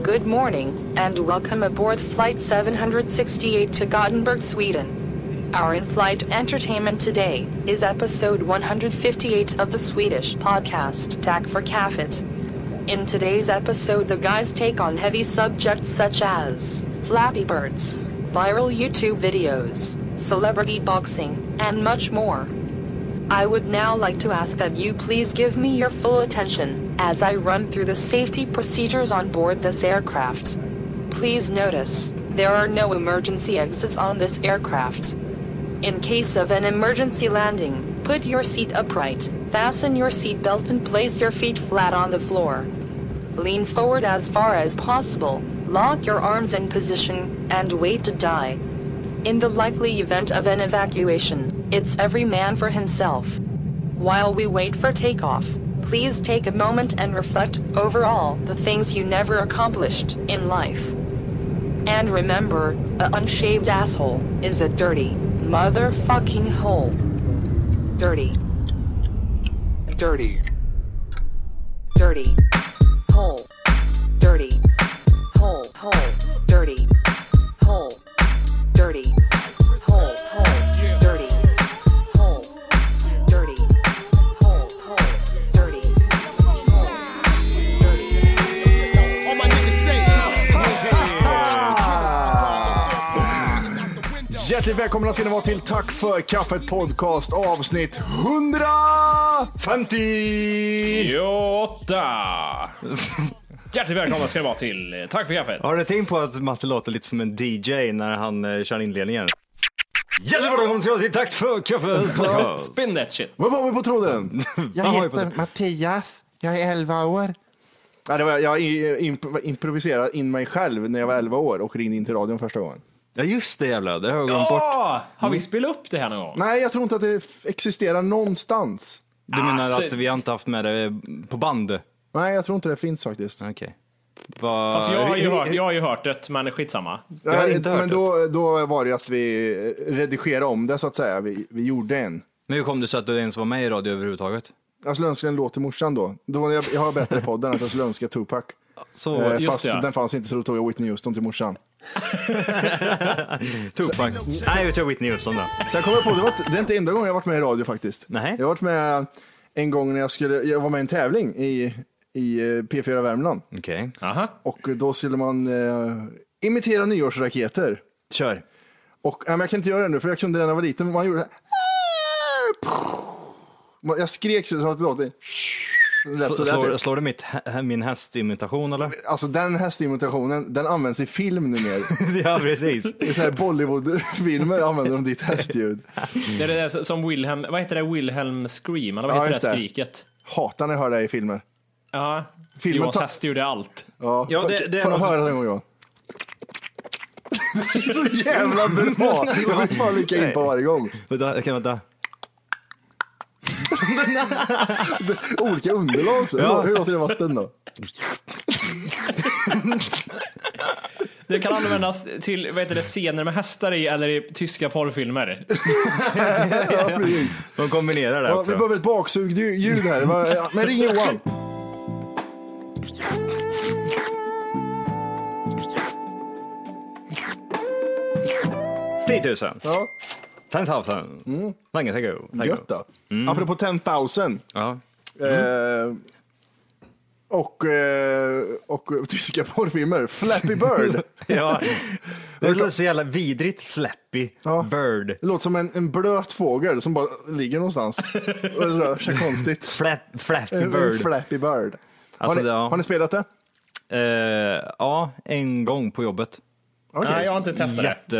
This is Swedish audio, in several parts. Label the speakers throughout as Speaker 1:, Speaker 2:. Speaker 1: Good morning, and welcome aboard Flight 768 to Gothenburg, Sweden. Our in flight entertainment today is episode 158 of the Swedish podcast Tack for Kaffet. In today's episode, the guys take on heavy subjects such as Flappy Birds, viral YouTube videos, celebrity boxing, and much more. I would now like to ask that you please give me your full attention as I run through the safety procedures on board this aircraft. Please notice, there are no emergency exits on this aircraft. In case of an emergency landing, put your seat upright, fasten your seatbelt and place your feet flat on the floor. Lean forward as far as possible, lock your arms in position, and wait to die. In the likely event of an evacuation, it's every man for himself. While we wait for takeoff, please take a moment and reflect over all the things you never accomplished in life. And remember, a unshaved asshole is a dirty, motherfucking hole. Dirty.
Speaker 2: Dirty.
Speaker 1: Dirty. Hole. Dirty. Hole. Hole. Dirty. Hole. Dirty. Hole. Hole. Dirty. Hole. Dirty. Hole. Hole. Dirty. Hole. Dirty.
Speaker 3: All my niggas say.
Speaker 4: Ah! Hjärtligt välkomna ska ni vara till Tack för kaffet podcast avsnitt 150!
Speaker 5: Jotta! Hjärtligt välkomna ska ni vara till eh, Tack för kaffet!
Speaker 6: Har du tänkt på att Matte låter lite som en DJ när han eh, kör inledningen? Hjärtligt välkomna ska ni till Tack för kaffet!
Speaker 5: Spin that shit!
Speaker 4: Vad var vi på tråden?
Speaker 6: Vad
Speaker 7: Jag
Speaker 6: har vi på
Speaker 7: heter Mattias. Jag är 11 år.
Speaker 4: Nej, det var, jag i- imp- improviserade in mig själv när jag var 11 år och ringde in till radion första gången.
Speaker 6: Ja just det jävla, det har jag glömt bort.
Speaker 5: Åh! Har vi spelat upp det här någon gång?
Speaker 4: Nej, jag tror inte att det f- existerar någonstans.
Speaker 6: Du menar
Speaker 5: Ah, så-
Speaker 6: att vi har inte haft med det eh, på band? Okej.
Speaker 4: Nej, jag tror inte det finns faktiskt.
Speaker 6: Vad-
Speaker 5: Alltså jag har ju
Speaker 6: hur-
Speaker 5: hört, jag har ju hört det, men skitsamma.
Speaker 6: Jag har
Speaker 4: Nej,
Speaker 6: inte hört
Speaker 4: Men då, då var det ju att vi redigerade om det så att säga. Vi, vi gjorde en.
Speaker 6: Men hur kom det så att du ens var med i radio överhuvudtaget?
Speaker 4: Jag önskar en låt till morsan då. då jag, jag har berättat i podden att jag skulle önska Tupac.
Speaker 6: Så,
Speaker 4: Eh,
Speaker 5: just
Speaker 4: Fast
Speaker 5: det, ja.
Speaker 4: den fanns inte så då tog jag Whitney Houston till morsan.
Speaker 6: Tupac. Nej, vi tar Whitney Houston då.
Speaker 4: Sen kom jag på, det, var, inte- det är inte enda gången jag varit med i radio faktiskt.
Speaker 6: Nej.
Speaker 4: Jag har varit med en gång när jag, skulle, jag var med i en tävling i, i eh, P4 Värmland.
Speaker 6: Okej,
Speaker 5: Aha.
Speaker 4: Och då skulle man eh, imitera nyårsraketer.
Speaker 6: kör.
Speaker 4: Och, nej, men jag kan inte göra det nu, för jag kunde det när jag var liten. men Man gjorde Man- Jag skrek så att det låter. Rätt
Speaker 6: Så,
Speaker 4: så
Speaker 6: slår,
Speaker 4: där.
Speaker 6: slår du mitt, hä- min hästimitation eller?
Speaker 4: Alltså den hästimitationen, den används i film numera.
Speaker 6: ja, precis.
Speaker 4: I så här Bollywood-filmer använder de ditt hästljud.
Speaker 5: Det är det där som Wilhelm, vad heter det, Wilhelm Scream, eller vad
Speaker 4: Ja,
Speaker 5: heter
Speaker 4: just
Speaker 5: det
Speaker 4: det.
Speaker 5: skriket?
Speaker 4: Hatar när jag hör det i filmer.
Speaker 5: Ja,
Speaker 4: Filmen
Speaker 5: Johans
Speaker 4: tar-
Speaker 5: häst gjorde allt.
Speaker 4: Ja,
Speaker 6: Ja,
Speaker 4: för,
Speaker 6: det- det är
Speaker 4: för att
Speaker 6: något-
Speaker 4: höra det en gång Johan. Det är så jävla bra! Jag vill fan lika in på varje gång.
Speaker 6: Vänta, jag kan vänta.
Speaker 4: Olika underlag också. Hur, hur låter det i vatten då?
Speaker 5: Det kan användas till, vad heter det, scener med hästar i eller i tyska porrfilmer.
Speaker 4: Ja, precis.
Speaker 6: De kombinerar det
Speaker 4: Ja, vi
Speaker 6: också.
Speaker 4: behöver ett baksugljud här. Va- ja, Men ring Johan!
Speaker 6: behöver... 10 000.
Speaker 4: Ja,
Speaker 6: 10,000. Mm. Länge, tack Mm. you. Thank
Speaker 4: gött då. Apropå 10 000.
Speaker 6: Ja.
Speaker 4: Eh, och, eh, och tyska porrfilmer. Flappy Bird.
Speaker 6: ja. Det låter så jävla vidrigt flappy.
Speaker 4: Ja.
Speaker 6: Bird.
Speaker 4: Det låter som en, en blöt fågel som bara ligger någonstans och rör sig konstigt.
Speaker 6: Flap, flappy
Speaker 4: En- En
Speaker 6: bird.
Speaker 4: Flappy Bird.
Speaker 6: Alltså,
Speaker 4: har, ni,
Speaker 6: det- ja.
Speaker 4: har ni spelat det?
Speaker 6: Eh, ja, en gång på jobbet.
Speaker 4: Okej.
Speaker 5: Nej, jag har inte testat det.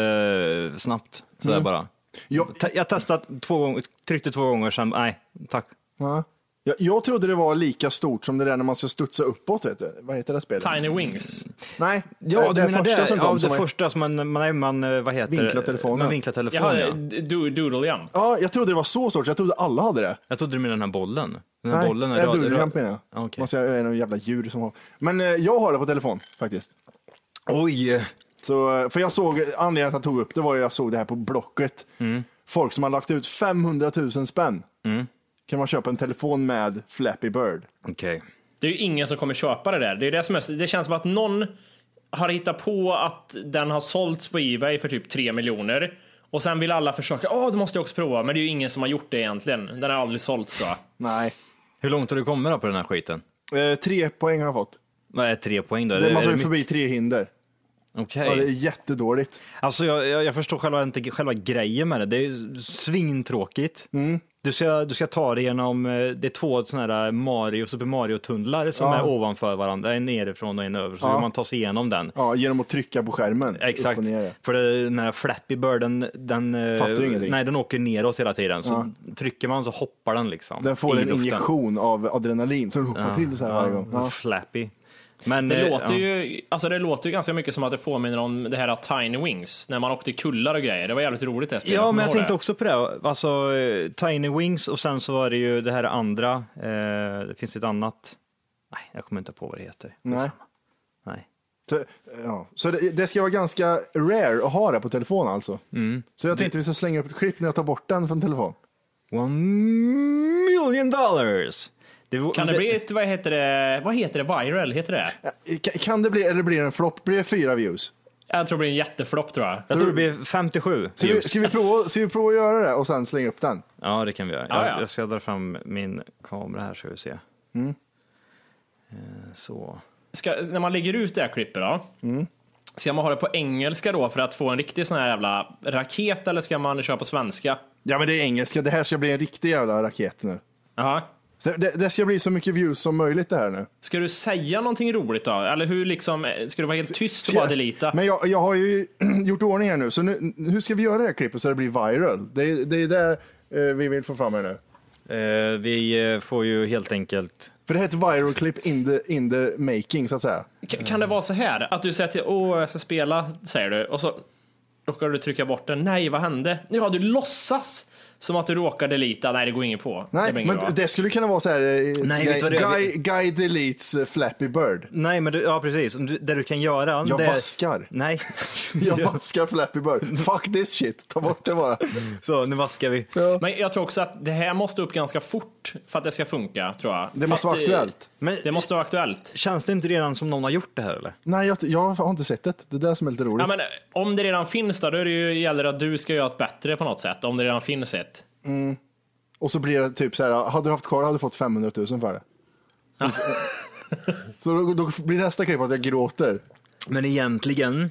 Speaker 6: Jättesnabbt. Sådär
Speaker 4: Mm.
Speaker 6: bara.
Speaker 4: Jag,
Speaker 6: Te- Jag testat två gånger, tryckte två gånger sen, nej, tack.
Speaker 4: ja. jag, jag trodde det var lika stort som det där när man ska studsa uppåt. Vet du. Vad heter det spelet?
Speaker 5: Tiny Wings.
Speaker 4: Nej, eh,
Speaker 6: Ja,
Speaker 4: det
Speaker 6: du menar
Speaker 4: första
Speaker 6: det?
Speaker 4: som
Speaker 6: Ja,
Speaker 4: kom.
Speaker 6: det
Speaker 4: som var-
Speaker 6: första som man, man, man eh, vad heter det?
Speaker 4: Vinklar telefonen.
Speaker 6: Man vinklar telefonen,
Speaker 5: Jaha,
Speaker 6: ja. eh,
Speaker 5: do, doodle jump.
Speaker 4: Ja, jag trodde det var så sorts. Jag trodde alla hade det.
Speaker 6: Jag trodde du menade den här bollen. Den här
Speaker 4: Nej,
Speaker 6: bollen.
Speaker 4: jag
Speaker 6: rad-
Speaker 4: dudelramp
Speaker 6: rad-
Speaker 4: menar jag.
Speaker 6: Okej.
Speaker 4: Man ser, jag är någon jävla djur som har. Men eh, jag har det på telefon faktiskt.
Speaker 6: Oj!
Speaker 4: Så, eh, för jag såg, anledningen till att jag tog upp det var ju jag såg det här på Blocket.
Speaker 6: Mm.
Speaker 4: Folk som har lagt ut 500 000 spänn. Kan man köpa en telefon med Flappy Bird?
Speaker 6: Okej.
Speaker 5: Det är ju ingen som kommer köpa det där. Det, är det, som är, det känns som att någon har hittat på att den har sålts på Ebay för typ 3 miljoner. Och sen vill alla försöka, åh det måste jag också prova, men det är ju ingen som har gjort det egentligen. Den har aldrig sålts då.
Speaker 4: Nej.
Speaker 6: Hur långt har du kommit då på den här skiten?
Speaker 4: Eh, tre poäng har jag fått.
Speaker 6: Vad är tre poäng då?
Speaker 4: Det, man tar
Speaker 6: är
Speaker 4: ju
Speaker 6: det
Speaker 4: förbi tre hinder.
Speaker 6: mycket? Okej.
Speaker 4: Ja, det är jättedåligt.
Speaker 6: Alltså jag, jag, jag förstår själva, inte själva grejen med det. Det är svintråkigt.
Speaker 4: Mm.
Speaker 6: Du, ska, du ska ta dig igenom, eh, det är två sådana här eh, Mario, Super Mario-tunnlar som
Speaker 4: Ja.
Speaker 6: är ovanför varandra. En nerifrån och en över. Så
Speaker 4: Ja.
Speaker 6: vill man ta sig igenom den.
Speaker 4: Ja, genom att trycka på skärmen. Upp
Speaker 6: Exakt.
Speaker 4: och ner.
Speaker 6: För det, den här Flappy Bird, den, den, eh,
Speaker 4: Fattar du ingenting?
Speaker 6: nej, den åker neråt hela tiden. Så trycker man så hoppar den liksom.
Speaker 4: Den får
Speaker 6: i
Speaker 4: en
Speaker 6: luften.
Speaker 4: injektion av adrenalin som hoppar till så här varje gång. Ja.
Speaker 6: Flappy. Men,
Speaker 5: Det,
Speaker 6: eh,
Speaker 5: låter
Speaker 6: ja.
Speaker 5: ju, alltså det låter ju ganska mycket som att det påminner om det här Tiny Wings, när man åkte kullar och grejer. Det var jävligt roligt det spelet.
Speaker 6: Ja, men
Speaker 5: Kommer
Speaker 6: jag
Speaker 5: du ihåg
Speaker 6: tänkte
Speaker 5: det?
Speaker 6: också på det. Alltså, eh, Tiny Wings och sen så var det ju det här andra. Eh, det finns ett annat. Nej, jag kommer inte på vad det heter.
Speaker 4: Nej.
Speaker 6: Skitsamma. Nej.
Speaker 4: Så, ja. så det, det ska vara ganska rare att ha det på telefon alltså. Så jag tänkte vi ska slänga upp ett klipp när jag tar bort den från telefon.
Speaker 6: One million dollars! var-
Speaker 5: Kan det bli ett, vad heter det, vad heter det, viral, heter det?
Speaker 4: Eh, Kan, kan det bli, eller blir det en flopp? Blir det fyra views?
Speaker 5: Jag tror det blir en jätteflopp tror jag.
Speaker 6: Jag tror det blir 57.
Speaker 4: Ska vi,
Speaker 6: views.
Speaker 4: ska, vi prova, ska vi prova att göra det och sen slänga upp den?
Speaker 6: Ja, det kan vi göra.
Speaker 5: Ja,
Speaker 6: Jag,
Speaker 5: ja.
Speaker 6: jag ska dra fram min kamera här så vi ser.
Speaker 4: Mm.
Speaker 6: Eh, så.
Speaker 5: Ska, när man lägger ut det här klippet då, ska man ha det på engelska då för att få en riktig sån här jävla raket eller ska man köra på svenska?
Speaker 4: Ja men det är engelska, det här ska bli en riktig jävla raket nu.
Speaker 5: Jaha.
Speaker 4: Det, det, det ska bli så mycket views som möjligt det här nu.
Speaker 5: Ska du säga någonting roligt då? Eller hur liksom, ska du vara helt tyst och
Speaker 4: Ska-
Speaker 5: bara delita?
Speaker 4: Men jag, jag har ju gjort ordning här nu, så nu, hur ska vi göra det här klippet så det blir viral? Det, är- det är det eh, vi vill få fram här nu.
Speaker 6: Eh, vi eh, får ju helt enkelt...
Speaker 4: För det här är ett viral clip in the, in the making så att säga.
Speaker 5: K- Kan det vara så här att du säger till åh, jag ska spela, säger du, och så råkar du trycka bort den. Nej, vad hände? Ja, du låtsas som att du råkar delita. Nej, det går inget på. det
Speaker 4: Nej,
Speaker 5: blir
Speaker 4: men
Speaker 5: inget bra.
Speaker 4: det skulle kunna vara så här. eh,
Speaker 6: Nej,
Speaker 4: guy,
Speaker 6: vet du vad det är?
Speaker 4: guy, guy deletes eh, Flappy Bird.
Speaker 6: Nej, men du, ja, precis. Du, det du kan göra...
Speaker 4: Jag
Speaker 6: det...
Speaker 4: vaskar.
Speaker 6: Nej.
Speaker 4: Jag vaskar Flappy Bird. Fuck this shit, ta bort det bara.
Speaker 6: Så, nu vaskar vi.
Speaker 5: Men jag tror också att det här måste upp ganska fort för att det ska funka, tror jag.
Speaker 4: Det måste
Speaker 5: För
Speaker 4: vara
Speaker 5: att, eh,
Speaker 4: aktuellt.
Speaker 6: Men
Speaker 5: Det måste vara aktuellt.
Speaker 6: känns det inte redan som någon har gjort det här eller?
Speaker 4: Nej, jag, jag har inte sett det. Det är det som är lite roligt.
Speaker 5: Ja, men eh, om det redan finns då, då är det ju, gäller det att du ska göra ett bättre på något sätt. Om det redan finns ett.
Speaker 4: Och så blir det typ så här, hade du haft kvar hade du fått 500 000 för det. Så då, då blir nästa klipp att jag gråter.
Speaker 6: Men egentligen,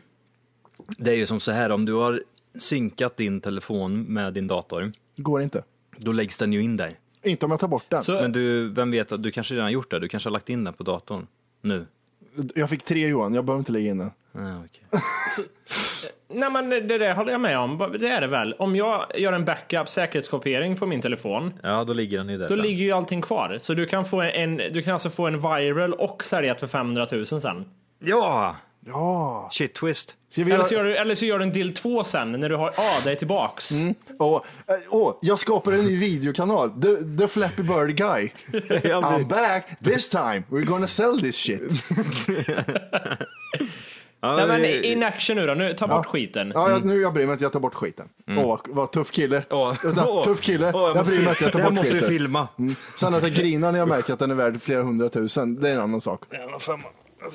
Speaker 6: det är ju som så här om du har synkat din telefon med din dator,
Speaker 4: Går inte.
Speaker 6: då läggs den ju in där.
Speaker 4: Inte om jag tar bort den.
Speaker 5: Så,
Speaker 6: Men du, vem vet, du kanske redan har gjort det, du kanske har lagt in den på datorn nu.
Speaker 4: Jag fick tre Johan, jag behöver inte lägga in den.
Speaker 6: Ah, okej.
Speaker 5: eh, nej, men det där håller jag med om. Det är det väl. Om jag gör en backup säkerhetskopiering på min telefon
Speaker 6: Ja, då ligger den ju där.
Speaker 5: Då
Speaker 6: sen.
Speaker 5: ligger ju allting kvar. Så du kan, få en, du kan alltså få en viral och sälja det för 500 000 sen.
Speaker 6: Ja!
Speaker 4: Ja.
Speaker 6: Shit twist.
Speaker 4: Ska vi
Speaker 5: Eller
Speaker 4: göra...
Speaker 5: så, gör du, eller så gör du en del två sen när du har ah, det är tillbaks.
Speaker 4: Åh, eh, åh, jag skapar en ny videokanal. The, the Flappy Bird Guy. I'm back, this time we're gonna sell this shit.
Speaker 5: Nej, men in action nu då, nu, ta bort skiten.
Speaker 4: Ja, jag, nu jag bryr mig inte, jag tar bort skiten. Åh, vad, vad tuff kille.
Speaker 6: Mm. Åh,
Speaker 4: Ja, Tuff kille,
Speaker 6: åh, jag
Speaker 4: jag,
Speaker 6: måste
Speaker 4: bryr mig
Speaker 6: fil-
Speaker 4: inte, jag
Speaker 6: det
Speaker 4: tar
Speaker 6: här
Speaker 4: bort
Speaker 6: måste vi
Speaker 4: skiten.
Speaker 6: filma.
Speaker 4: Mm. Sen att jag grinar när jag märker att den är värd flera hundratusen, det är en annan sak.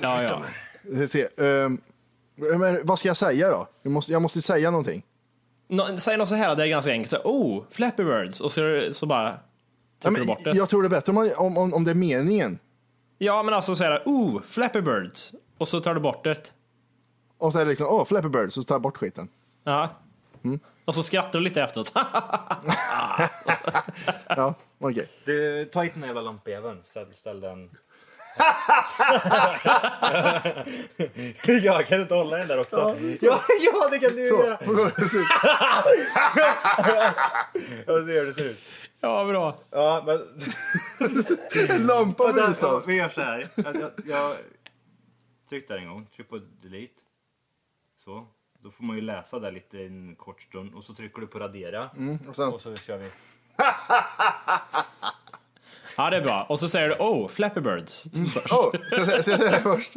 Speaker 5: Ja, ja.
Speaker 4: Vi ser, ehm, men vad ska jag säga då? Jag måste, jag måste säga någonting.
Speaker 5: Nå, säg något så här, det är ganska enkelt. Så, oh, Flappy Birds. Och så, så bara
Speaker 4: Ja,
Speaker 5: trycker
Speaker 4: men
Speaker 5: du bort det.
Speaker 4: jag tror det är bättre om, man, om, om, om det är meningen.
Speaker 5: Ja, men alltså så här, oh, Flappy Birds. Och så tar du bort det.
Speaker 4: Och så är det liksom, åh, Flappy Bird, så tar jag bort skiten.
Speaker 5: Ja. Och så skrattar du lite efteråt.
Speaker 4: Ja, okej.
Speaker 6: Du, ta hit den jävla lampjäveln, ställ, ställ den. jag kan inte hålla den där också. Ja, ja det kan du
Speaker 4: Så,
Speaker 6: göra.
Speaker 4: får gå- så-
Speaker 6: Jag ser hur det ser ut.
Speaker 5: ja, bra.
Speaker 6: Ja, men...
Speaker 4: en lampa
Speaker 6: Vänta,
Speaker 4: någonstans.
Speaker 6: vi gör så här. Jag, jag, jag tryck där en gång, tryck på delete. Så. Då får man ju läsa där lite i en kort stund och så trycker du på radera
Speaker 4: Och sen,
Speaker 6: och så kör vi.
Speaker 5: Ja, det är bra. Och så säger du, oh, Flappy Birds.
Speaker 4: åh, ska jag säga- ska jag säga det först?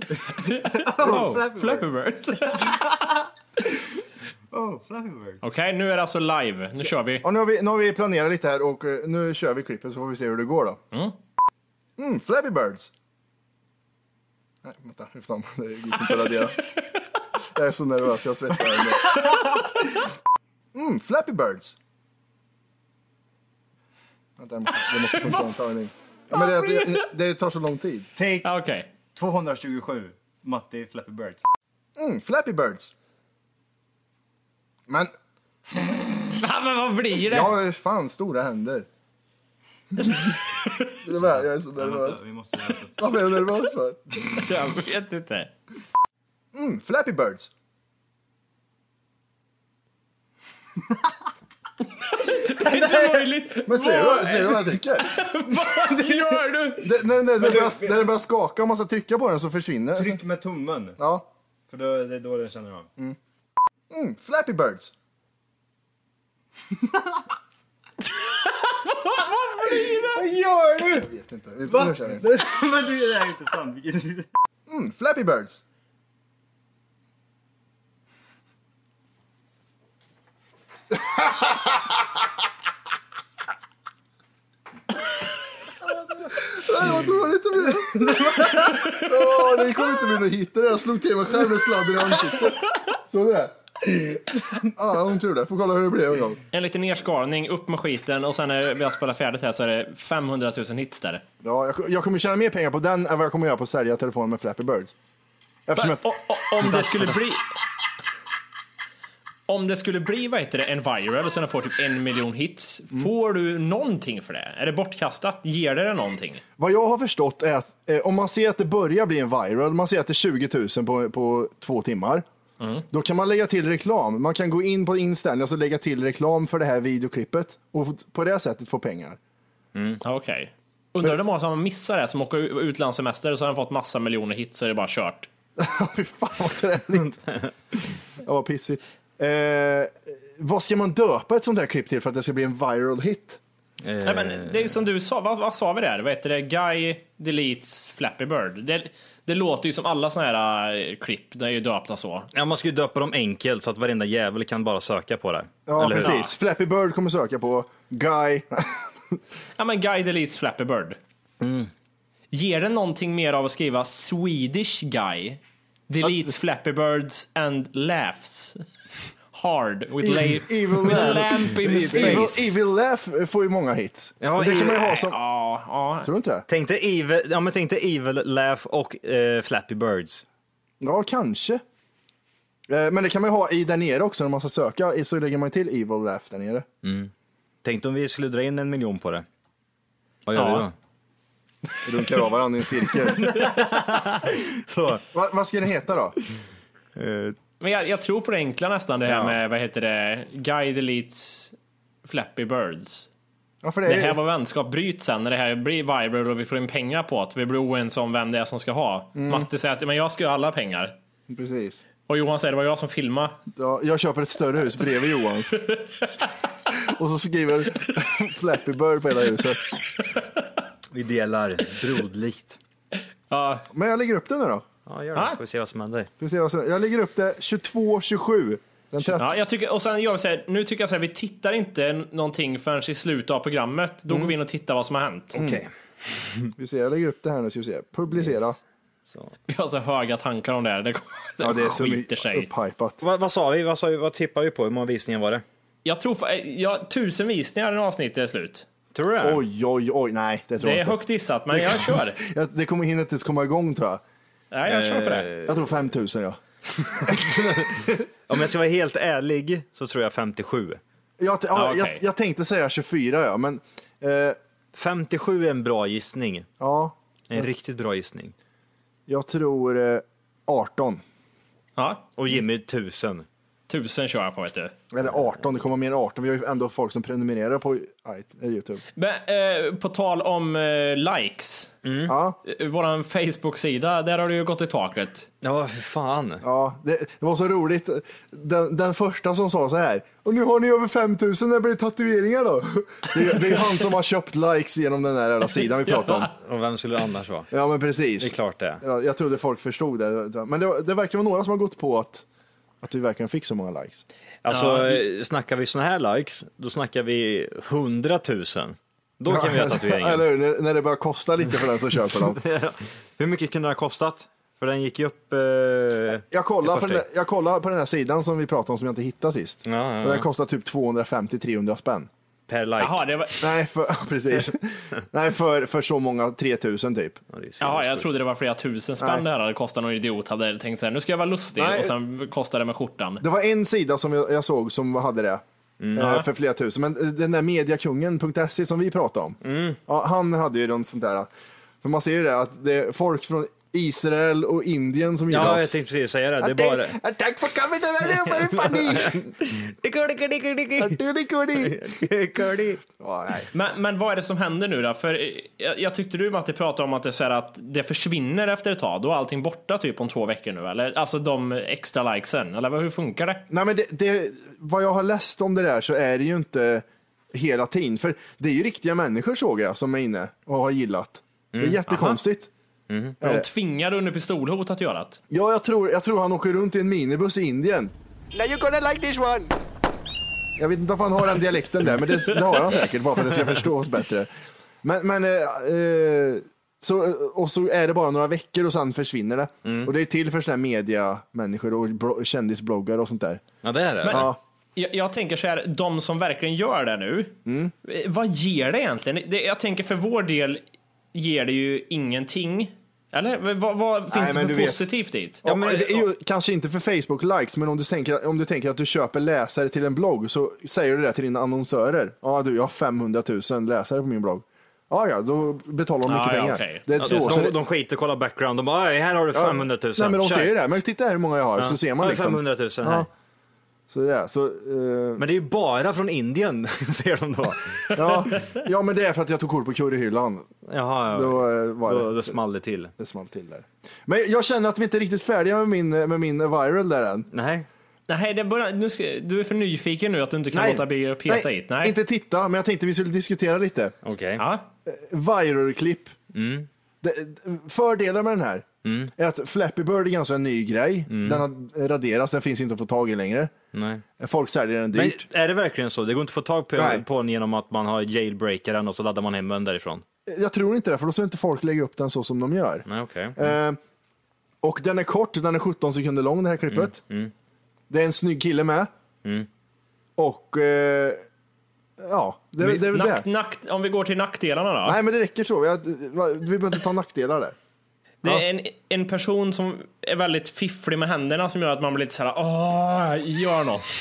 Speaker 5: Oh, Flappy, Birds.
Speaker 6: Oh, Flappy Bird.
Speaker 5: Okej, nu är det alltså live. Nu kör vi.
Speaker 4: Ja, nu, har vi, nu har vi planerat lite här och eh, nu kör vi klippet så får vi se hur det går då. Mm, Flappy Birds. Mm, Nej, vänta. Lyft om. Det gick inte att radera. Jag är så nervös, jag svettas. Mm, Flappy Birds. Vänta, jag måste, jag måste få en omtagning. Ja, men det, det, det tar så lång tid.
Speaker 2: Take
Speaker 5: Ja, Okej.
Speaker 2: 227, Matti Flappy Birds.
Speaker 4: Mm, Flappy Birds. Men
Speaker 5: Ja, men vad blir det?
Speaker 4: jag har ju fan stora händer. Det är bara, jag är så nervös.
Speaker 2: Vänta, vi måste läsa ett-
Speaker 4: Varför är jag nervös för?
Speaker 5: Jag vet inte.
Speaker 4: Mm, Flappy Birds.
Speaker 5: Det är inte möjligt.
Speaker 4: Men ser du, ser du vad jag trycker?
Speaker 5: Vad gör du?
Speaker 4: Det, när, när, den börjar, när den börjar skaka och man ska trycka på den så försvinner den.
Speaker 2: Tryck med tummen,
Speaker 4: Ja.
Speaker 2: för då, det är då den känner av.
Speaker 4: Mm, Flappy Birds.
Speaker 2: Vad gör du?
Speaker 4: Jag vet inte. Nu
Speaker 2: Va?
Speaker 4: kör vi.
Speaker 2: Men du, det här är inte sant. Vilken-
Speaker 4: Mm, Flappy Birds. Nej, vad dåligt det blev. Åh, det kommer inte bli något hit. Det där, Jag slog till mig själv med sladden i ansiktet. Såg du det? Ja, hon tur det. Får kolla hur det blev en gång.
Speaker 5: En liten nerskalning, upp med skiten och sen när vi har spelat färdigt här så är det 500 000 hits där.
Speaker 4: Ja, jag, jag kommer tjäna mer pengar på den än vad jag kommer göra på att sälja telefonen med Flappy Birds. Eftersom jag...
Speaker 5: O- o- Om det skulle bli... Om det skulle bli, vad heter det, en viral så den får typ en miljon hits,
Speaker 4: Mm.
Speaker 5: får du någonting för det? Är det bortkastat? Ger det dig någonting?
Speaker 4: Vad jag har förstått är att eh, om man ser att det börjar bli en viral, man ser att det är 20 000 på, på två timmar, då kan man lägga till reklam. Man kan gå in på inställningar och så lägga till reklam för det här videoklippet och f- på det sättet få pengar. Mm.
Speaker 5: Ja, Ah, Okej. Undrar hur många som missar det, som åker u- utlandssemester och så har de fått massa miljoner hits så är det bara kört.
Speaker 4: Fy fan vad träligt. ja, vad pissigt. Eh, vad ska man döpa ett sånt här klipp till för att det ska bli en viral hit? Eh.
Speaker 5: Nej, men det är ju som du sa, vad, vad sa vi där? Vad heter det? Guy deletes Flappy Bird. Det, det låter ju som alla såna här eh, klipp, det är ju döpta så.
Speaker 6: Ja, man ska ju döpa dem enkelt så att varenda jävel kan bara söka på det. här.
Speaker 4: Ja,
Speaker 6: Eller hur?
Speaker 4: precis. Flappy Bird kommer söka på Guy.
Speaker 5: Ja men Guy deletes Flappy Bird.
Speaker 4: Mm.
Speaker 5: Ger det någonting mer av att skriva Swedish Guy? Deletes Flappy Birds and laughs hard with, la-
Speaker 4: evil
Speaker 5: with
Speaker 4: laugh.
Speaker 5: lamp in his
Speaker 4: Evil,
Speaker 5: face.
Speaker 4: Evil Laugh får ju många hits.
Speaker 6: Ja,
Speaker 4: Och det kan man ju ha som...
Speaker 5: Ja, ja.
Speaker 4: Tror du inte det?
Speaker 6: Tänk dig evil, ja, men tänk dig evil Laugh och eh, Flappy Birds.
Speaker 4: Ja, kanske. Eh, Men det kan man ju ha i där nere också när man ska söka. i- Så lägger man till Evil Laugh där nere.
Speaker 6: Tänk om vi skulle dra in en miljon på det. Vad gör
Speaker 5: Ja.
Speaker 6: vi då?
Speaker 4: Runkar av varandra i en cirkel.
Speaker 6: Så,
Speaker 4: Va, vad ska den heta då?
Speaker 6: eh,
Speaker 5: Men jag, jag tror på det enkla nästan det här
Speaker 6: Ja.
Speaker 5: med, vad heter det, Guy deletes Flappy Birds.
Speaker 4: Ja, för det
Speaker 5: Det
Speaker 4: är,
Speaker 5: här var vänskap bryts sen när det här blir viral och vi får in pengar på att vi blir oense om vem det är som ska ha.
Speaker 4: Mm.
Speaker 5: Matte säger att men jag ska ha alla pengar.
Speaker 4: Precis.
Speaker 5: Och Johan säger det var jag som filmade.
Speaker 4: Ja, jag köper ett större hus bredvid Johans. Och så skriver Flappy Bird på hela huset.
Speaker 6: vi delar broderligt.
Speaker 5: Ja,
Speaker 4: Men jag lägger upp det nu då.
Speaker 6: Ja, gör
Speaker 5: Ah.
Speaker 6: det. Får vi se vad som händer.
Speaker 4: Ska vi se vad som- Jag lägger upp det 22-27. Den 13.
Speaker 5: Ja, jag tycker, och sen gör vi så här, nu tycker jag så här, vi tittar inte n- någonting förrän i slutet av programmet. Då
Speaker 4: Mm.
Speaker 5: går vi in och tittar vad som har hänt.
Speaker 6: Okej.
Speaker 4: Vi ser, jag lägger upp det här nu ska vi se. Publicera.
Speaker 6: Så.
Speaker 5: Vi har så höga tankar om det här. Det, kommer-
Speaker 4: Ja, det är så
Speaker 5: skiter sig.
Speaker 4: upphypat.
Speaker 6: Vad, vad sa vi? Vad, sa vi? vad tippade vi på? Hur många visningar var det?
Speaker 5: Jag tror, fa- eh, jag, tusen visningar när avsnittet är slut.
Speaker 6: Tror du det?
Speaker 4: Oj, oj, oj. Nej, det tror
Speaker 5: Det är
Speaker 4: jag inte.
Speaker 5: högt dissat, men jag kör.
Speaker 4: Jag, det kommer hinna inte ens komma igång tror jag.
Speaker 5: Nej, jag kör på det.
Speaker 4: Jag tror 5000 ja.
Speaker 6: Om jag ska vara helt ärlig så tror jag 57.
Speaker 4: Jag, ja,
Speaker 5: Ja, okej.
Speaker 4: jag, jag tänkte säga 24, ja, men eh,
Speaker 6: 57 är en bra gissning.
Speaker 4: ja,
Speaker 6: En riktigt bra gissning.
Speaker 4: jag tror eh, 18.
Speaker 5: Ja,
Speaker 6: Och Jimmy 1000.
Speaker 5: tusen kör jag på vet du.
Speaker 4: Eller 18, det kommer mer än 18. Vi har ju ändå folk som prenumererar på i- i- Youtube.
Speaker 5: Men, eh, på tal om eh, likes.
Speaker 6: Mm.
Speaker 4: Ja,
Speaker 5: Eh, Våran Facebook-sida, där har det ju gått i taket.
Speaker 6: Ja, för fan.
Speaker 4: ja det, det var så roligt. Den, den första som sa så här. Och nu har ni över 5000, när blir det tatueringar då? Det, är- det är han som har köpt likes genom den där jävla sidan vi pratade om.
Speaker 6: Och vem skulle det annars vara?
Speaker 4: Ja, men precis.
Speaker 6: Det är klart det.
Speaker 4: Ja, jag trodde folk förstod det. Men det, det verkar vara några som har gått på att, att vi verkligen fick så många likes.
Speaker 6: Alltså, eh, snackar vi såna här likes, då snackar vi 100 000. Då kan vi göra
Speaker 4: Eller
Speaker 6: tatueringen.
Speaker 4: hur? När, när det börjar kosta lite för den som köper dem.
Speaker 6: Hur mycket kunde det ha kostat? För den gick ju upp... Eh, ja,
Speaker 4: Jag kollar,
Speaker 6: Ett par
Speaker 4: på den där, jag kollar på den här sidan som vi pratade om som jag inte hittade sist.
Speaker 6: ja,
Speaker 4: Och den
Speaker 6: ja.
Speaker 4: kostar typ 250-300 spänn.
Speaker 6: Per like.
Speaker 5: Jaha, det var,
Speaker 4: Nej, för, precis. Nej, för, för så många, 3000 typ.
Speaker 6: Ja, det är så
Speaker 5: jaha, jag
Speaker 6: sjukt.
Speaker 5: trodde det var flera tusen spänn
Speaker 4: Nej.
Speaker 5: det här hade kostat. Någon idiot hade tänkt så här, nu ska jag vara lustig
Speaker 4: Nej.
Speaker 5: och sen kostade det med skjortan.
Speaker 4: Det var en sida som jag, jag såg som hade det.
Speaker 6: Mm,
Speaker 4: eh, För flera tusen. Men eh, den där mediakungen.se E som vi pratade om.
Speaker 6: Mm.
Speaker 4: Ja, han hade ju något sånt där. För man ser ju det att det är folk från Israel och Indien som
Speaker 6: Ja,
Speaker 4: gillar
Speaker 6: jag
Speaker 4: oss.
Speaker 6: tänkte precis säga det. Det är bara...
Speaker 4: Tack för coming, det var det funny! Tudikurdi.
Speaker 6: Curdy.
Speaker 4: Ja, nej.
Speaker 5: Men, men vad är det som händer nu då? För eh, jag, jag tyckte du Matti pratade om att det, är så här att det försvinner efter ett tag. Då är allting borta typ om två veckor nu eller? Alltså de extra likesen, eller vad- hur funkar det?
Speaker 4: Nej, men det, det, vad jag har läst om det där så är det ju inte hela tiden. För det är ju riktiga människor såg jag som är inne och har gillat. det är jättekonstigt. Eh.
Speaker 5: De tvingar under pistolhot att göra det.
Speaker 4: Ja, jag tror, jag tror han åker runt i en minibuss i Indien. Now you're gonna like this one! Jag vet inte om han har den dialekten där, men det, det har han säkert bara för att det ska förstås bättre. Men, men eh, eh, så, och så är det bara några veckor och sen försvinner det. Och det är till för sådana här mediamänniskor och bro- kändisbloggar och sånt där.
Speaker 6: Ja, det är det.
Speaker 5: Men
Speaker 4: Ja.
Speaker 5: jag, jag tänker så här, de som verkligen gör det nu,
Speaker 4: Mm.
Speaker 5: eh, vad ger det egentligen? Det, jag tänker för vår del ger det ju ingenting. Eller V- vad, vad finns
Speaker 4: men
Speaker 5: det
Speaker 4: du
Speaker 5: för
Speaker 4: vet.
Speaker 5: positivt i det?
Speaker 4: Ja, men, det är ju, kanske inte för Facebook-likes, men om du, tänker, om du tänker att du köper läsare till en blogg så säger du det till dina annonsörer. Ja, du, jag har 500 000 läsare på min blogg. Ja, ja, då betalar de
Speaker 5: Ja,
Speaker 4: mycket
Speaker 5: ja,
Speaker 4: pengar.
Speaker 5: okej.
Speaker 4: Det är
Speaker 5: Ja,
Speaker 4: så,
Speaker 5: det
Speaker 4: så
Speaker 6: de,
Speaker 4: det-
Speaker 6: de skiter och kollar background. De bara, "Oj, här har du 500 000.
Speaker 4: Nej, men de
Speaker 6: Kör."
Speaker 4: ser ju det. Men titta här hur många jag har, så ser man
Speaker 6: Ja,
Speaker 4: liksom.
Speaker 6: 500 000 här.
Speaker 4: Ja. Så det är, så, eh,
Speaker 6: Men det är ju bara från Indien, ser de då.
Speaker 4: ja, ja, men det är för att jag tog kort på curryhyllan.
Speaker 6: Jaha, ja.
Speaker 4: Då eh, var
Speaker 6: då,
Speaker 4: det.
Speaker 6: då small det till.
Speaker 4: Det small till där. Men jag känner att vi inte är riktigt färdiga med min, eh, med min viral där än.
Speaker 6: Nej.
Speaker 5: Nej, det börjar, nu ska, du är för nyfiken nu att du inte kan
Speaker 4: Nej.
Speaker 5: låta bli att peta i det. Nej,
Speaker 4: inte titta, men jag tänkte vi skulle diskutera lite.
Speaker 6: Okej.
Speaker 5: Ja.
Speaker 4: Viral-klipp. Det- Fördelar med den här är att Flappy Bird är ganska ny grej. Den har raderats, den finns inte att få tag i längre.
Speaker 6: Nej.
Speaker 4: Folk säljer den
Speaker 6: Men
Speaker 4: dyrt.
Speaker 6: är det verkligen så? Det går inte att få tag på,
Speaker 4: Nej.
Speaker 6: på den genom att man har jailbreaker den och så laddar man hem den därifrån?
Speaker 4: Jag tror inte det, för då skulle inte folk lägga upp den så som de gör.
Speaker 6: Nej, okej.
Speaker 4: Eh, och den är kort, den är 17 sekunder lång det här klippet. Det är en snygg kille med. Och eh, ja, det, det är väl
Speaker 5: Nack,
Speaker 4: det.
Speaker 5: nack, om vi går till nackdelarna då.
Speaker 4: Nej men det räcker så, Jag- vi behöver inte ta nackdelar där.
Speaker 5: Det är en, en person som är väldigt fifflig med händerna som gör att man blir lite såhär, åh, gör något.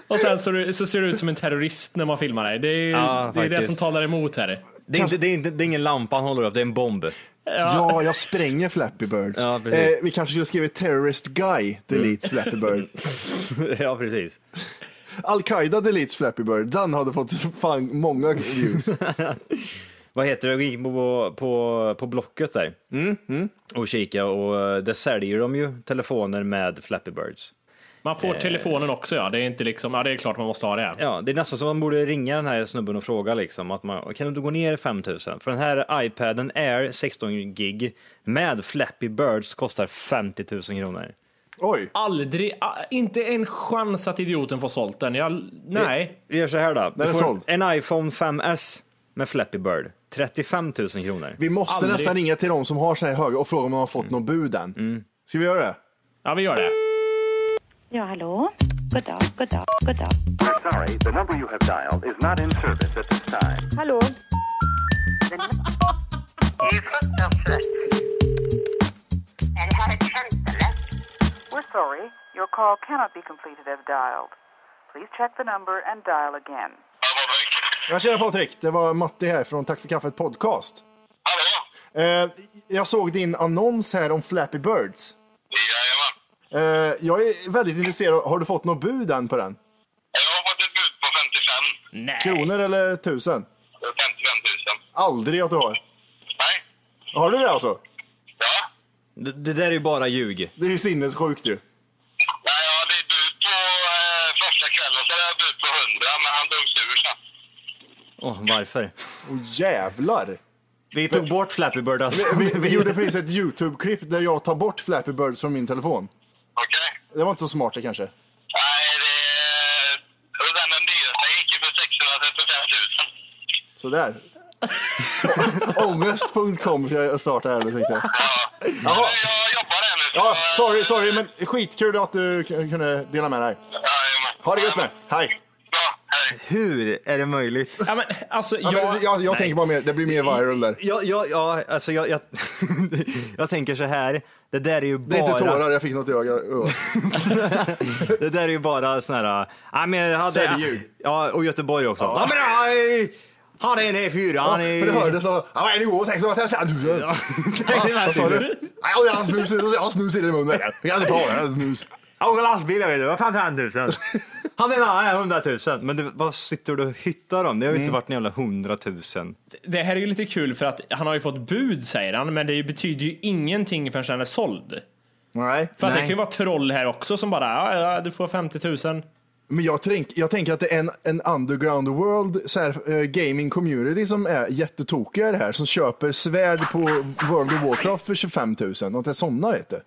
Speaker 5: Och sen så, du- så ser du ut som en terrorist när man filmar dig. Det är,
Speaker 6: Ja,
Speaker 5: det, är det
Speaker 6: faktiskt.
Speaker 5: som talar emot här.
Speaker 6: Det, är inte, det, är inte, det är ingen lampa han håller upp, det är en bomb.
Speaker 4: Ja, jag spränger Flappy Birds.
Speaker 6: Ja, precis.
Speaker 4: eh, vi kanske skulle skriva Terrorist Guy deletes Flappy Bird.
Speaker 6: ja, precis.
Speaker 4: Al-Qaida deletes Flappy Bird. Den hade fått fan många views.
Speaker 6: Vad heter det? Jag gick på, på, på Blocket där och kika och eh, där säljer de ju telefoner med Flappy Birds.
Speaker 5: Man får
Speaker 4: Eh.
Speaker 5: telefonen också ja. Det är inte liksom, ja det är klart man måste ha det.
Speaker 6: Ja, det är nästan som man borde ringa den här snubben och fråga liksom att man kan du gå ner 5000? För den här iPaden Air 16 gig med Flappy Birds kostar 50 000 kronor.
Speaker 4: Oj,
Speaker 5: Aldrig, a- inte en chans att idioten får sålt den. Jag, nej.
Speaker 6: Vi gör så här då.
Speaker 4: Den
Speaker 6: Du
Speaker 4: är
Speaker 6: får
Speaker 4: såld.
Speaker 6: en iPhone 5S med Flappy Bird. 35 000 kronor.
Speaker 4: vi måste
Speaker 5: Aldrig.
Speaker 4: nästan ringa till de som har såna här höga och fråga om de har fått någon bud än. Ska vi göra det?
Speaker 5: Ja vi gör det.
Speaker 3: Ja, hallå? God dag, god dag, god dag.
Speaker 8: We're sorry, the number you have dialed is not in service at this time.
Speaker 9: Hallå?
Speaker 10: Du fått något plötsligt. Den här tjänsten
Speaker 9: We're sorry. Your call cannot be completed as dialed. Please check the number and dial again.
Speaker 4: Jag tjena Patrik, det var Matti här från Tack för kaffet podcast.
Speaker 8: Hallå?
Speaker 4: Eh, jag såg din annons här om Flappy Birds.
Speaker 8: Jajamän.
Speaker 4: Eh, jag är väldigt intresserad, har du fått något bud än på den?
Speaker 8: Jag har fått ett bud på 55.
Speaker 4: Kronor eller tusen?
Speaker 8: 55 000.
Speaker 4: Aldrig att du har.
Speaker 8: Nej?
Speaker 4: Har du det alltså?
Speaker 8: Ja?
Speaker 6: Det, det där är ju bara ljug.
Speaker 4: Det är ju sinnessjukt ju.
Speaker 8: Nej, jag hade ett bud på eh, första kvällen så hade jag ett bud på 100 men han dog sur sen.
Speaker 6: Åh, varför?
Speaker 4: Åh jävlar!
Speaker 6: Vi tog bort Flappy Bird alltså.
Speaker 4: Vi, vi gjorde precis ett YouTube-klipp där jag tar bort Flappy Birds från min telefon.
Speaker 8: Okej?
Speaker 4: Det var inte så smart det kanske.
Speaker 8: Nej, det... Och den den dyraste gick ju för 635 000.
Speaker 4: Sådär. Ångest.com för jag startade här nu tänkte jag. Jaha. Ja, sorry, sorry, men skitkul att du k- kunde dela med dig. Ha det gött med Hej.
Speaker 6: Hur är det möjligt?
Speaker 5: Ja, men, alltså,
Speaker 4: Ja, men jag- jag- jag tänker bara mer- det blir mer viral där.
Speaker 6: Ja, ja, ja alltså jag, jag, jag tänker så här. Det där är ju
Speaker 4: Det är inte
Speaker 6: bara,
Speaker 4: tårar, jag fick något i ögat.
Speaker 6: det där är ju bara sån här... Ja, men jag hade,
Speaker 4: Säljljud.
Speaker 6: Ja, och Göteborg också. Ja. men, aj, han är en E4, han är...
Speaker 4: för det hördes så. Ja, vad är det går? 635 000. Ja, Vad sa du? Nej, Jag har snus, jag har snus i munnen. Jag kan inte prata, jag har snus.
Speaker 6: Jag åker lastbil, jag vet. Det var 55 000. Han är nära 100 000. Men det, vad sitter du och hyttar om? Det har ju inte varit en jävla 100 000.
Speaker 5: Det här är ju lite kul för att han har ju fått bud säger han, men det betyder ju ingenting förrän den är såld.
Speaker 4: Nej.
Speaker 5: För att det kan ju vara troll här också som bara, ja, ja, du får 50 000.
Speaker 4: Men jag, tänk, jag tänker att det är en, en underground world så här, eh, gaming community som är jättetokiga i det här. Som köper svärd på World of Warcraft för 25 000. Och det är sådana vet du.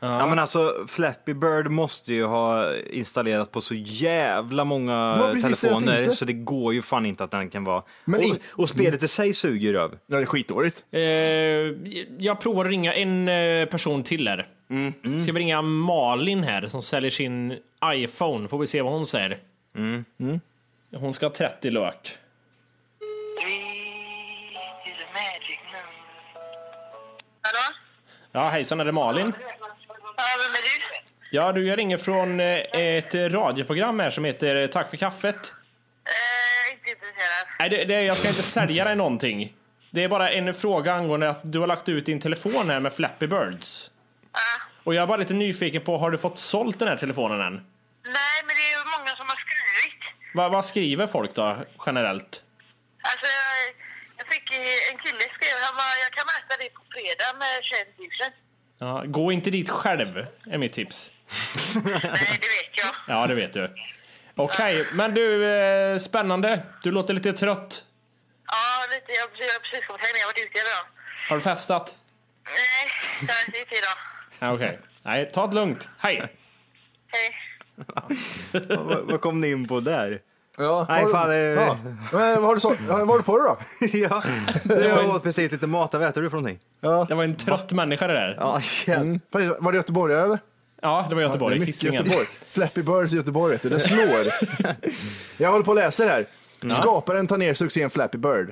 Speaker 6: Ja men alltså Flappy Bird måste ju ha installerat på så jävla många
Speaker 4: Det var precis det jag
Speaker 6: telefoner
Speaker 4: tänkte.
Speaker 6: så det går ju fan inte att den kan vara.
Speaker 4: Men
Speaker 6: och,
Speaker 4: in-
Speaker 6: och spelet i sig suger ju röv.
Speaker 4: Ja, det är skitdåligt.
Speaker 5: Eh, jag provar att ringa en eh, person till här. Ska vi ringa Malin här som säljer sin iPhone? Får vi se vad hon säger. Hon ska ha 30 lök. Ja, hejsan, är det Malin? Ja, du, jag ringer från eh, ett radioprogram här som heter eh, Tack för kaffet. Nej, det, det, jag ska inte sälja dig någonting. Det är bara en fråga angående att du har lagt ut din telefon här med Flappy Birds. Och jag är bara lite nyfiken på, har du fått sålt den här telefonen än?
Speaker 10: Nej, men det är ju många som har skrivit.
Speaker 5: Va, vad skriver folk då, generellt?
Speaker 10: Alltså, jag- jag fick eh, en kille skrev, han bara, jag kan mäta det på fredag med 21 000.
Speaker 5: Ja, gå inte dit själv, är mitt tips.
Speaker 10: Nej, det vet jag.
Speaker 5: Ja, det vet du. Okej, men du, eh, spännande. Du låter lite trött.
Speaker 10: Ja, lite. Jag jag har precis kommit hem. Jag har varit ute idag.
Speaker 5: Har du festat?
Speaker 10: Nej, jag har inte ute idag.
Speaker 5: Ja, Okej. Nej, ta det lugnt. Hej!
Speaker 10: Hej.
Speaker 6: vad, vad kom ni in på där?
Speaker 4: Ja,
Speaker 6: Nej,
Speaker 4: har
Speaker 6: fan, eh.
Speaker 4: du, ja. Men, vad, har du så, ja, vad har du på dig då?
Speaker 6: ja, jag åt precis lite mat. Vad äter du för någonting?
Speaker 5: Det var en trött människa det där.
Speaker 6: Ja, jävlar.
Speaker 4: Mm, precis. Var det göteborgare eller?
Speaker 5: Ja, det var
Speaker 4: Ja, det
Speaker 5: Göteborg.
Speaker 4: är mycket
Speaker 5: Hisingen.
Speaker 4: Göteborg. Flappy Birds i Göteborg vet du. Det slår. jag håller på och läser
Speaker 6: Mm.
Speaker 4: här. Skaparen tar ner succén Flappy Bird.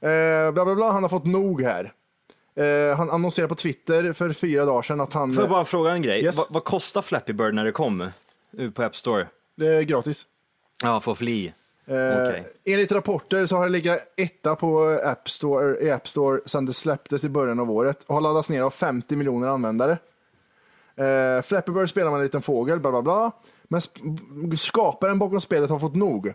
Speaker 4: Eh, bla bla bla, han har fått nog här. Eh, han annonserade på Twitter för fyra dagar sedan att han...
Speaker 6: Får jag bara fråga en grej?
Speaker 4: Yes.
Speaker 6: Vad, vad kostar Flappy Bird när det kom ut på App Store?
Speaker 4: Det är gratis.
Speaker 6: Ja, för fli.
Speaker 4: Eh,
Speaker 6: Okej.
Speaker 4: Enligt rapporter så har det legat etta på App Store, i App Store sedan det släpptes i början av året och har laddats ner av 50 miljoner användare. Eh, Flappy Bird spelar man en liten fågel, bla bla bla. Men sp- skaparen bakom spelet har fått nog.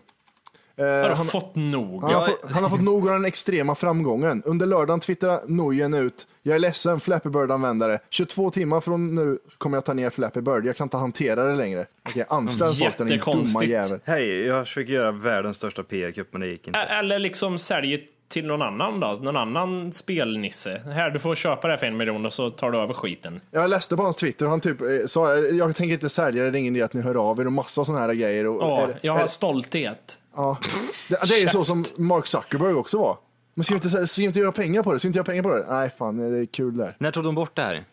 Speaker 4: Eh,
Speaker 5: Har du
Speaker 4: han-
Speaker 5: fått nog?
Speaker 4: Han, har fått, han har fått nog av den extrema framgången. Under lördagen twittrade Nojen ut. Jag är ledsen Flappy Bird-användare. 22 timmar från nu kommer jag ta ner Flappy Bird. Jag kan inte hantera det längre. Okej, anställ folk den dumma
Speaker 5: Jättekonstigt.
Speaker 4: jäveln.
Speaker 6: Hej, jag försöker göra världens största PR-kupp men det gick inte.
Speaker 5: Ä- Eller liksom säljer till någon annan då, någon annan spelnisse. Här, du får köpa det här för en miljon och så tar du över skiten.
Speaker 4: Jag läste på hans Twitter och han typ eh, sa jag tänker inte sälja det, det är ingen idé att ni hör av er och massa sådana här grejer. Och,
Speaker 5: Ja,
Speaker 4: är det-
Speaker 5: jag
Speaker 4: är
Speaker 5: har
Speaker 4: det-
Speaker 5: stolthet.
Speaker 4: ja. det, det är ju så som Mark Zuckerberg också var. Men ska vi inte, sä- ska vi inte göra pengar på det? Ska vi inte göra pengar på det? Nej, fan, det är kul där.
Speaker 6: När tog de bort det här?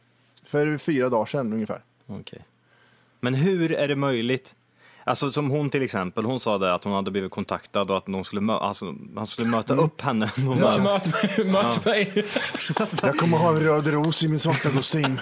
Speaker 4: För fyra dagar sedan ungefär.
Speaker 6: Okej. Men hur är det möjligt? Alltså som hon till exempel, hon sa det att hon hade blivit kontaktad och att någon skulle, mö- alltså, han skulle möta
Speaker 4: Mm.
Speaker 6: upp henne. Någon annan.
Speaker 5: Möt mig, möt mig.
Speaker 4: Jag kommer ha en röd ros i min svarta kostym.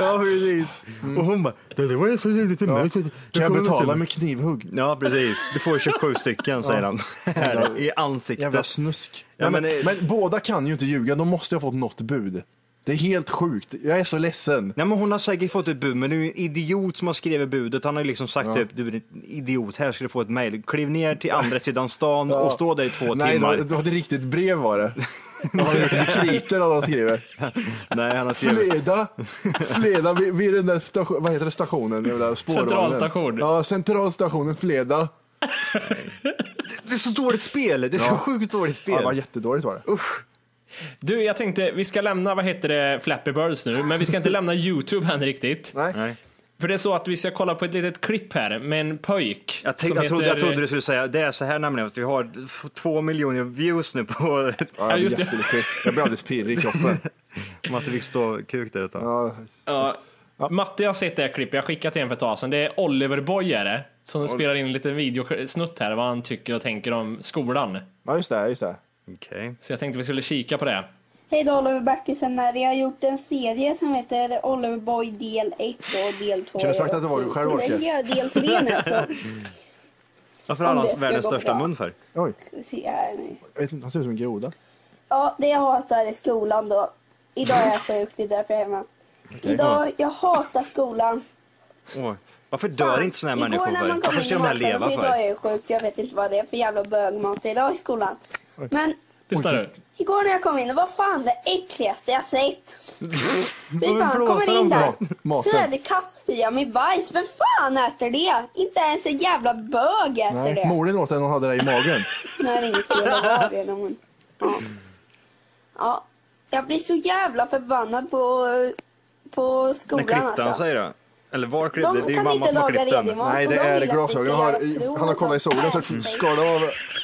Speaker 6: ja precis. Och hon bara, det där var ju så lite möte.
Speaker 4: Mm. Kan jag
Speaker 6: kommer
Speaker 4: betala
Speaker 6: inte."
Speaker 4: med knivhugg?
Speaker 6: Ja precis, du får 27 stycken säger han. Här, I
Speaker 4: Jävla
Speaker 6: ansiktet.
Speaker 4: snusk.
Speaker 6: Ja,
Speaker 4: Nej, men,
Speaker 6: men, eh,
Speaker 4: men, båda kan ju inte ljuga, de måste ha fått något bud. Det är helt sjukt, jag är så ledsen.
Speaker 6: Nej men hon har säkert fått ett bud, men det är ju en idiot som har skrivit budet. Han har ju liksom sagt typ, du är en idiot, här ska du få ett mejl. Kliv ner till andra sidan stan och stå där i två
Speaker 4: Nej,
Speaker 6: timmar.
Speaker 4: det var ett riktigt brev var det. De har gjort kriter alla skriver.
Speaker 6: Nej, han har skrivit.
Speaker 4: Fleda, Fleda vid, vid den där station, vad heter det, stationen? Den där spårvagnen.
Speaker 5: Centralstation.
Speaker 4: Ja, centralstationen Fleda.
Speaker 6: Det är så dåligt spel, det är så sjukt dåligt spel.
Speaker 4: Ja, det var jättedåligt var det.
Speaker 5: Du, jag tänkte vi ska lämna, vad heter det, Flappy Birds nu, men vi ska inte lämna YouTube än riktigt.
Speaker 4: Nej.
Speaker 6: Nej.
Speaker 5: För det är så att vi ska kolla på ett litet klipp här med en pöjk.
Speaker 6: Jag, tänkte, jag, trodde, jag trodde du skulle säga, det är så här nämligen att vi har f- två miljoner views nu på...
Speaker 5: Ja, just det.
Speaker 4: Jag blir alldeles pirrig i kroppen.
Speaker 6: Matte fick stå kuk där ett tag.
Speaker 4: Ja,
Speaker 5: Ja. Matte har sett det här klippet, jag skickade till en för ett tag sedan. Det är Oliver Boy är det, som spelar in en liten videosnutt här, vad han tycker och tänker om skolan.
Speaker 4: ja just det, just det.
Speaker 6: Okej.
Speaker 5: Så jag tänkte vi skulle kika på det.
Speaker 11: Hej då Oliver Bertilsson här. Jag har gjort en serie som heter Oliverboy del 1 och del Typ. 2.
Speaker 4: Kan du sagt att det var du själv, Orke?
Speaker 11: Jag gör del 3 nu. Så
Speaker 6: Varför har
Speaker 11: Om
Speaker 6: han
Speaker 11: det ska
Speaker 6: världens
Speaker 11: gå
Speaker 6: största
Speaker 11: bra.
Speaker 6: mun för?
Speaker 4: Oj,
Speaker 11: ska vi se här nu.
Speaker 4: jag vet inte, han ser ut som en groda.
Speaker 11: Ja, det jag hatar är skolan då. Idag är jag sjuk, det är därför jag är hemma. Idag, jag hatar skolan.
Speaker 6: Åh, Varför dör inte såna här människor
Speaker 11: Igår när
Speaker 6: för?
Speaker 11: man kom
Speaker 6: Varför ska
Speaker 11: in
Speaker 6: de
Speaker 11: i
Speaker 6: här
Speaker 11: maten,
Speaker 6: leva
Speaker 11: och Idag är
Speaker 6: för?
Speaker 11: jag sjuk, så jag vet inte vad det är för jävla bögmat idag i skolan. Men
Speaker 5: Lyssna nu.
Speaker 11: igår när jag kom in, det var fan det äckligaste jag sett. Fy fan, kommer in där. Så är
Speaker 4: Maten.
Speaker 11: det kattspya med bajs. Vem fan äter det? Inte ens en jävla bög äter
Speaker 4: Nej,
Speaker 11: det.
Speaker 4: Morin åt den och hade det i magen.
Speaker 11: Nej, det är inget fel att ha det. när man- Ja. ja. Jag blir så jävla förbannad på, på
Speaker 6: När
Speaker 11: skolan
Speaker 6: klippte han
Speaker 11: alltså.
Speaker 6: sig då? Eller var klippte?
Speaker 11: De
Speaker 6: Det är ju
Speaker 11: kan
Speaker 6: mamma
Speaker 11: inte
Speaker 6: som har
Speaker 11: laga
Speaker 6: klippt den.
Speaker 11: redig mat.
Speaker 4: Nej, det
Speaker 11: de vill
Speaker 4: är
Speaker 11: att vi
Speaker 4: glasögon.
Speaker 11: ska
Speaker 4: Han
Speaker 11: göra prov
Speaker 4: har, han har kollat i
Speaker 11: och
Speaker 4: solen så
Speaker 11: sånt.
Speaker 4: det skalar av.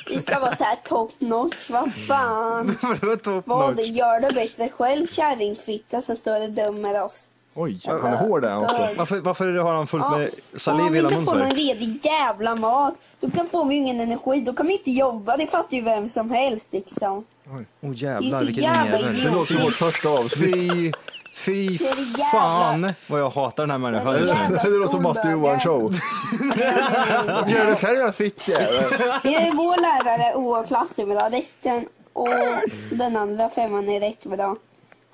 Speaker 11: Vi ska vara så här top notch. Vad fan.
Speaker 6: Det var top
Speaker 11: Vad
Speaker 6: notch.
Speaker 11: gör du bättre själv kärringfitta som står och dömer oss?
Speaker 4: Oj, han är hård där han också.
Speaker 6: Varför, varför har han fullt
Speaker 11: Ja,
Speaker 6: med
Speaker 11: Om
Speaker 6: saliv i
Speaker 11: vi
Speaker 6: hela
Speaker 11: inte
Speaker 6: munnen
Speaker 11: får någon
Speaker 6: för?
Speaker 11: redig jävla mat, då kan får vi ju ingen energi. Då kan vi inte jobba. Det fattar ju vem som helst liksom.
Speaker 6: Åh
Speaker 11: Det är
Speaker 6: jävlar
Speaker 11: så
Speaker 6: vilken
Speaker 11: jävla
Speaker 6: jävel.
Speaker 4: Det låter som vårt första avsnitt.
Speaker 6: Fy, fy
Speaker 11: Det är jävla-
Speaker 6: fan vad jag hatar den här människan
Speaker 11: Det är
Speaker 6: just nu.
Speaker 11: jävla
Speaker 4: Det låter som Matte och Johan show. Gör det själv, fittjävel.
Speaker 11: Det är vår lärare och klassrum idag. Resten och den andra femman är rätt bra.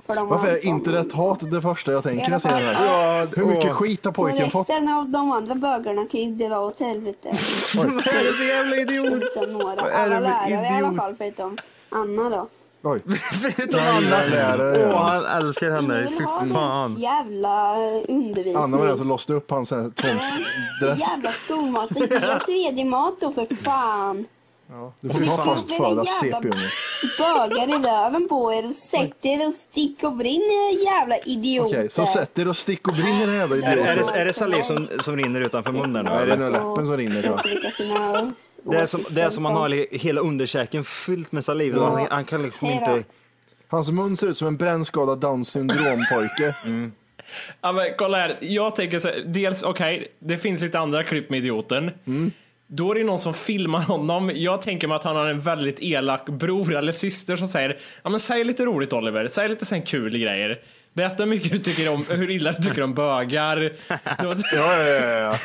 Speaker 11: För de
Speaker 4: Varför
Speaker 11: har
Speaker 4: är internethat det första jag tänker när jag ser den här?
Speaker 6: Ja,
Speaker 4: Hur mycket
Speaker 6: åh.
Speaker 4: skit har
Speaker 11: Och
Speaker 4: pojken fått?
Speaker 11: resten av de andra bögarna kan ju dra åt helvete.
Speaker 6: Är du så jävla idiot?
Speaker 11: Inte några.
Speaker 6: Vad är det
Speaker 11: Alla
Speaker 6: för
Speaker 11: lärare i alla
Speaker 6: idiot?
Speaker 11: fall förutom Anna då.
Speaker 4: Oj.
Speaker 6: Förutom
Speaker 4: Jävla
Speaker 6: Anna.
Speaker 4: lärare, ja.
Speaker 6: Åh, han älskar henne.
Speaker 11: vill
Speaker 6: Fy
Speaker 11: ha någon
Speaker 6: fan.
Speaker 11: jävla undervisning.
Speaker 4: Anna var den som låste upp hans eh, sån här tvångsdress.
Speaker 11: Jävla skolmat. Ge oss redig mat då för fan.
Speaker 4: Du får ta fast föda CP-unge.
Speaker 11: Bögar i röven på er och sätt er och stick och brinn era jävla idioter.
Speaker 4: Okej, så sätt er och stick och brinn i den här jävla
Speaker 6: Är, är,
Speaker 4: idioten.
Speaker 6: det, är det saliv som, som rinner utanför munnen?
Speaker 4: Nej, det är
Speaker 6: nu?
Speaker 4: nog läppen som rinner. tror jag.
Speaker 6: Det är som, det är som man har he- hela underkäken fyllt med saliv. Han, han kan liksom
Speaker 11: Hej
Speaker 6: inte...
Speaker 4: Hans mun ser ut som en brännskadad down syndrom-pojke.
Speaker 6: Mm.
Speaker 5: Ja, men kolla här, jag tänker så här, dels okej, det finns lite andra klipp med idioten.
Speaker 4: Mm.
Speaker 5: Då är det någon som filmar honom. Jag tänker mig att han har en väldigt elak bror eller syster som säger ja men säg lite roligt Oliver, säg lite sån här kul grejer. Berätta hur mycket du tycker om, hur illa du tycker om bögar. Det, var, så-
Speaker 4: Ja, ja,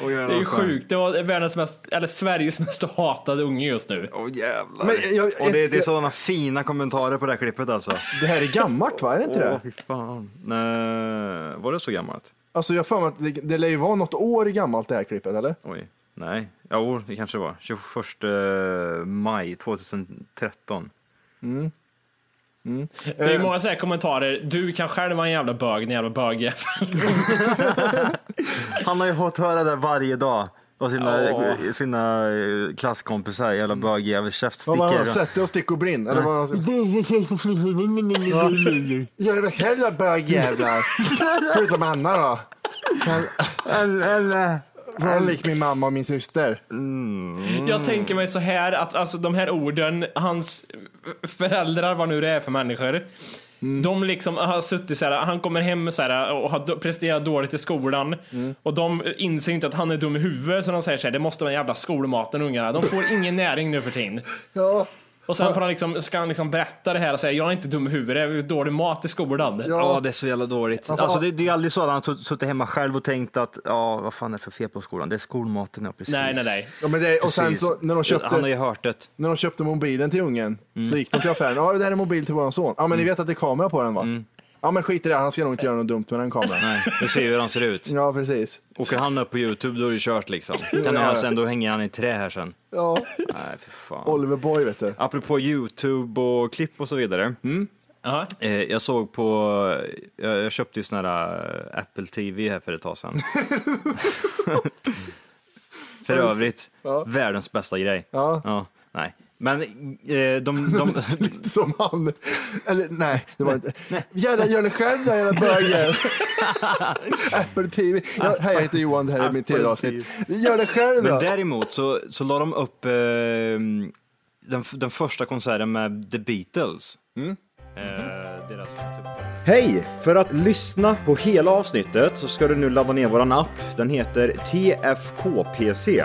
Speaker 4: ja,
Speaker 5: det är ju sjukt, det var världens mest, eller Sveriges mest hatade unge just nu.
Speaker 6: Åh jävlar.
Speaker 4: Men jag-
Speaker 6: och det,
Speaker 4: ett-
Speaker 6: det är sådana fina kommentarer på det här klippet alltså.
Speaker 4: Det här är gammalt va, är det inte
Speaker 6: Åh
Speaker 4: det?
Speaker 6: fy fan. Nej, var det så gammalt?
Speaker 4: Alltså jag har för mig att det, det lär ju vara något år gammalt det här klippet eller?
Speaker 6: Oj. Nej. Jo, det kanske det var. 21 maj 2013.
Speaker 5: Det är
Speaker 4: Eh.
Speaker 5: ju många så här kommentarer, du kan själv vara en jävla bög, din jävla bögjävel.
Speaker 6: Han har ju fått höra det varje dag. Av sina,
Speaker 5: Åh.
Speaker 6: sina eh, klasskompisar, jävla bögjävel,
Speaker 4: Vad var
Speaker 6: käftstickare.
Speaker 4: det? Sätt dig och stick och brinn? Eller vad var det? Gör det själv då bögjävlar. Förutom Anna då. Han är lik min mamma och min syster.
Speaker 5: Jag tänker mig så här att alltså de här orden, hans föräldrar, vad nu det är för människor. De liksom har suttit så här, han kommer hem så här och har do- presterat dåligt i skolan och de inser inte att han är dum i huvudet så de säger så här, det måste vara den jävla skolmaten ungarna, de får ingen näring nu för tiden.
Speaker 4: Ja,
Speaker 5: Och sen får han liksom, ska han liksom berätta det här och säga, jag är inte dum i huvudet, jag är dålig mat i skolan.
Speaker 6: Ja, det är så jävla dåligt. Alltså, det, det är ju aldrig så att han har sutt- suttit hemma själv och tänkt att ja, vad fan är det för fel på skolan? Det är skolmaten, ja precis.
Speaker 5: Nej, nej, nej.
Speaker 4: ja men det, och sen
Speaker 6: Precis.
Speaker 4: så när de
Speaker 6: Han Mm. har
Speaker 4: köpte,
Speaker 6: ju hört det.
Speaker 4: när de köpte mobilen till ungen så gick de till affären. Ja, det här är mobil till våran son. Ja, men
Speaker 6: Mm.
Speaker 4: ni vet att det är kamera på den va? Ja, men skit i det. Han ska nog inte göra något dumt med den kameran.
Speaker 6: Nej, vi ser ju hur han ser ut.
Speaker 4: Ja, precis.
Speaker 6: Åker han upp på Youtube då är det kört liksom. Kan han sen, då hänger han i trä här sen.
Speaker 4: Ja,
Speaker 6: Nej, för fan.
Speaker 4: Oliver Boy vet du.
Speaker 6: Apropå Youtube och klipp och så vidare.
Speaker 5: Ja.
Speaker 6: Eh, jag såg på, jag, jag köpte ju sån här eh, Apple TV här för ett tag sedan. för övrigt,
Speaker 4: Ja.
Speaker 6: världens bästa grej.
Speaker 4: Ja.
Speaker 6: nej. Men eh, de... de...
Speaker 4: Som han. Eller nej, det var inte. Jävlar, gör det själv då, jävla bögjävel. Apple TV. Ja, hej, jag heter Johan, det här är mitt tredje avsnitt. Gör det själv då.
Speaker 6: Men däremot så, så la de upp eh, den, den första konserten med The Beatles. Eh, deras... typ. Hej! För att lyssna på hela avsnittet så ska du nu ladda ner våran app. Den heter TFKPC.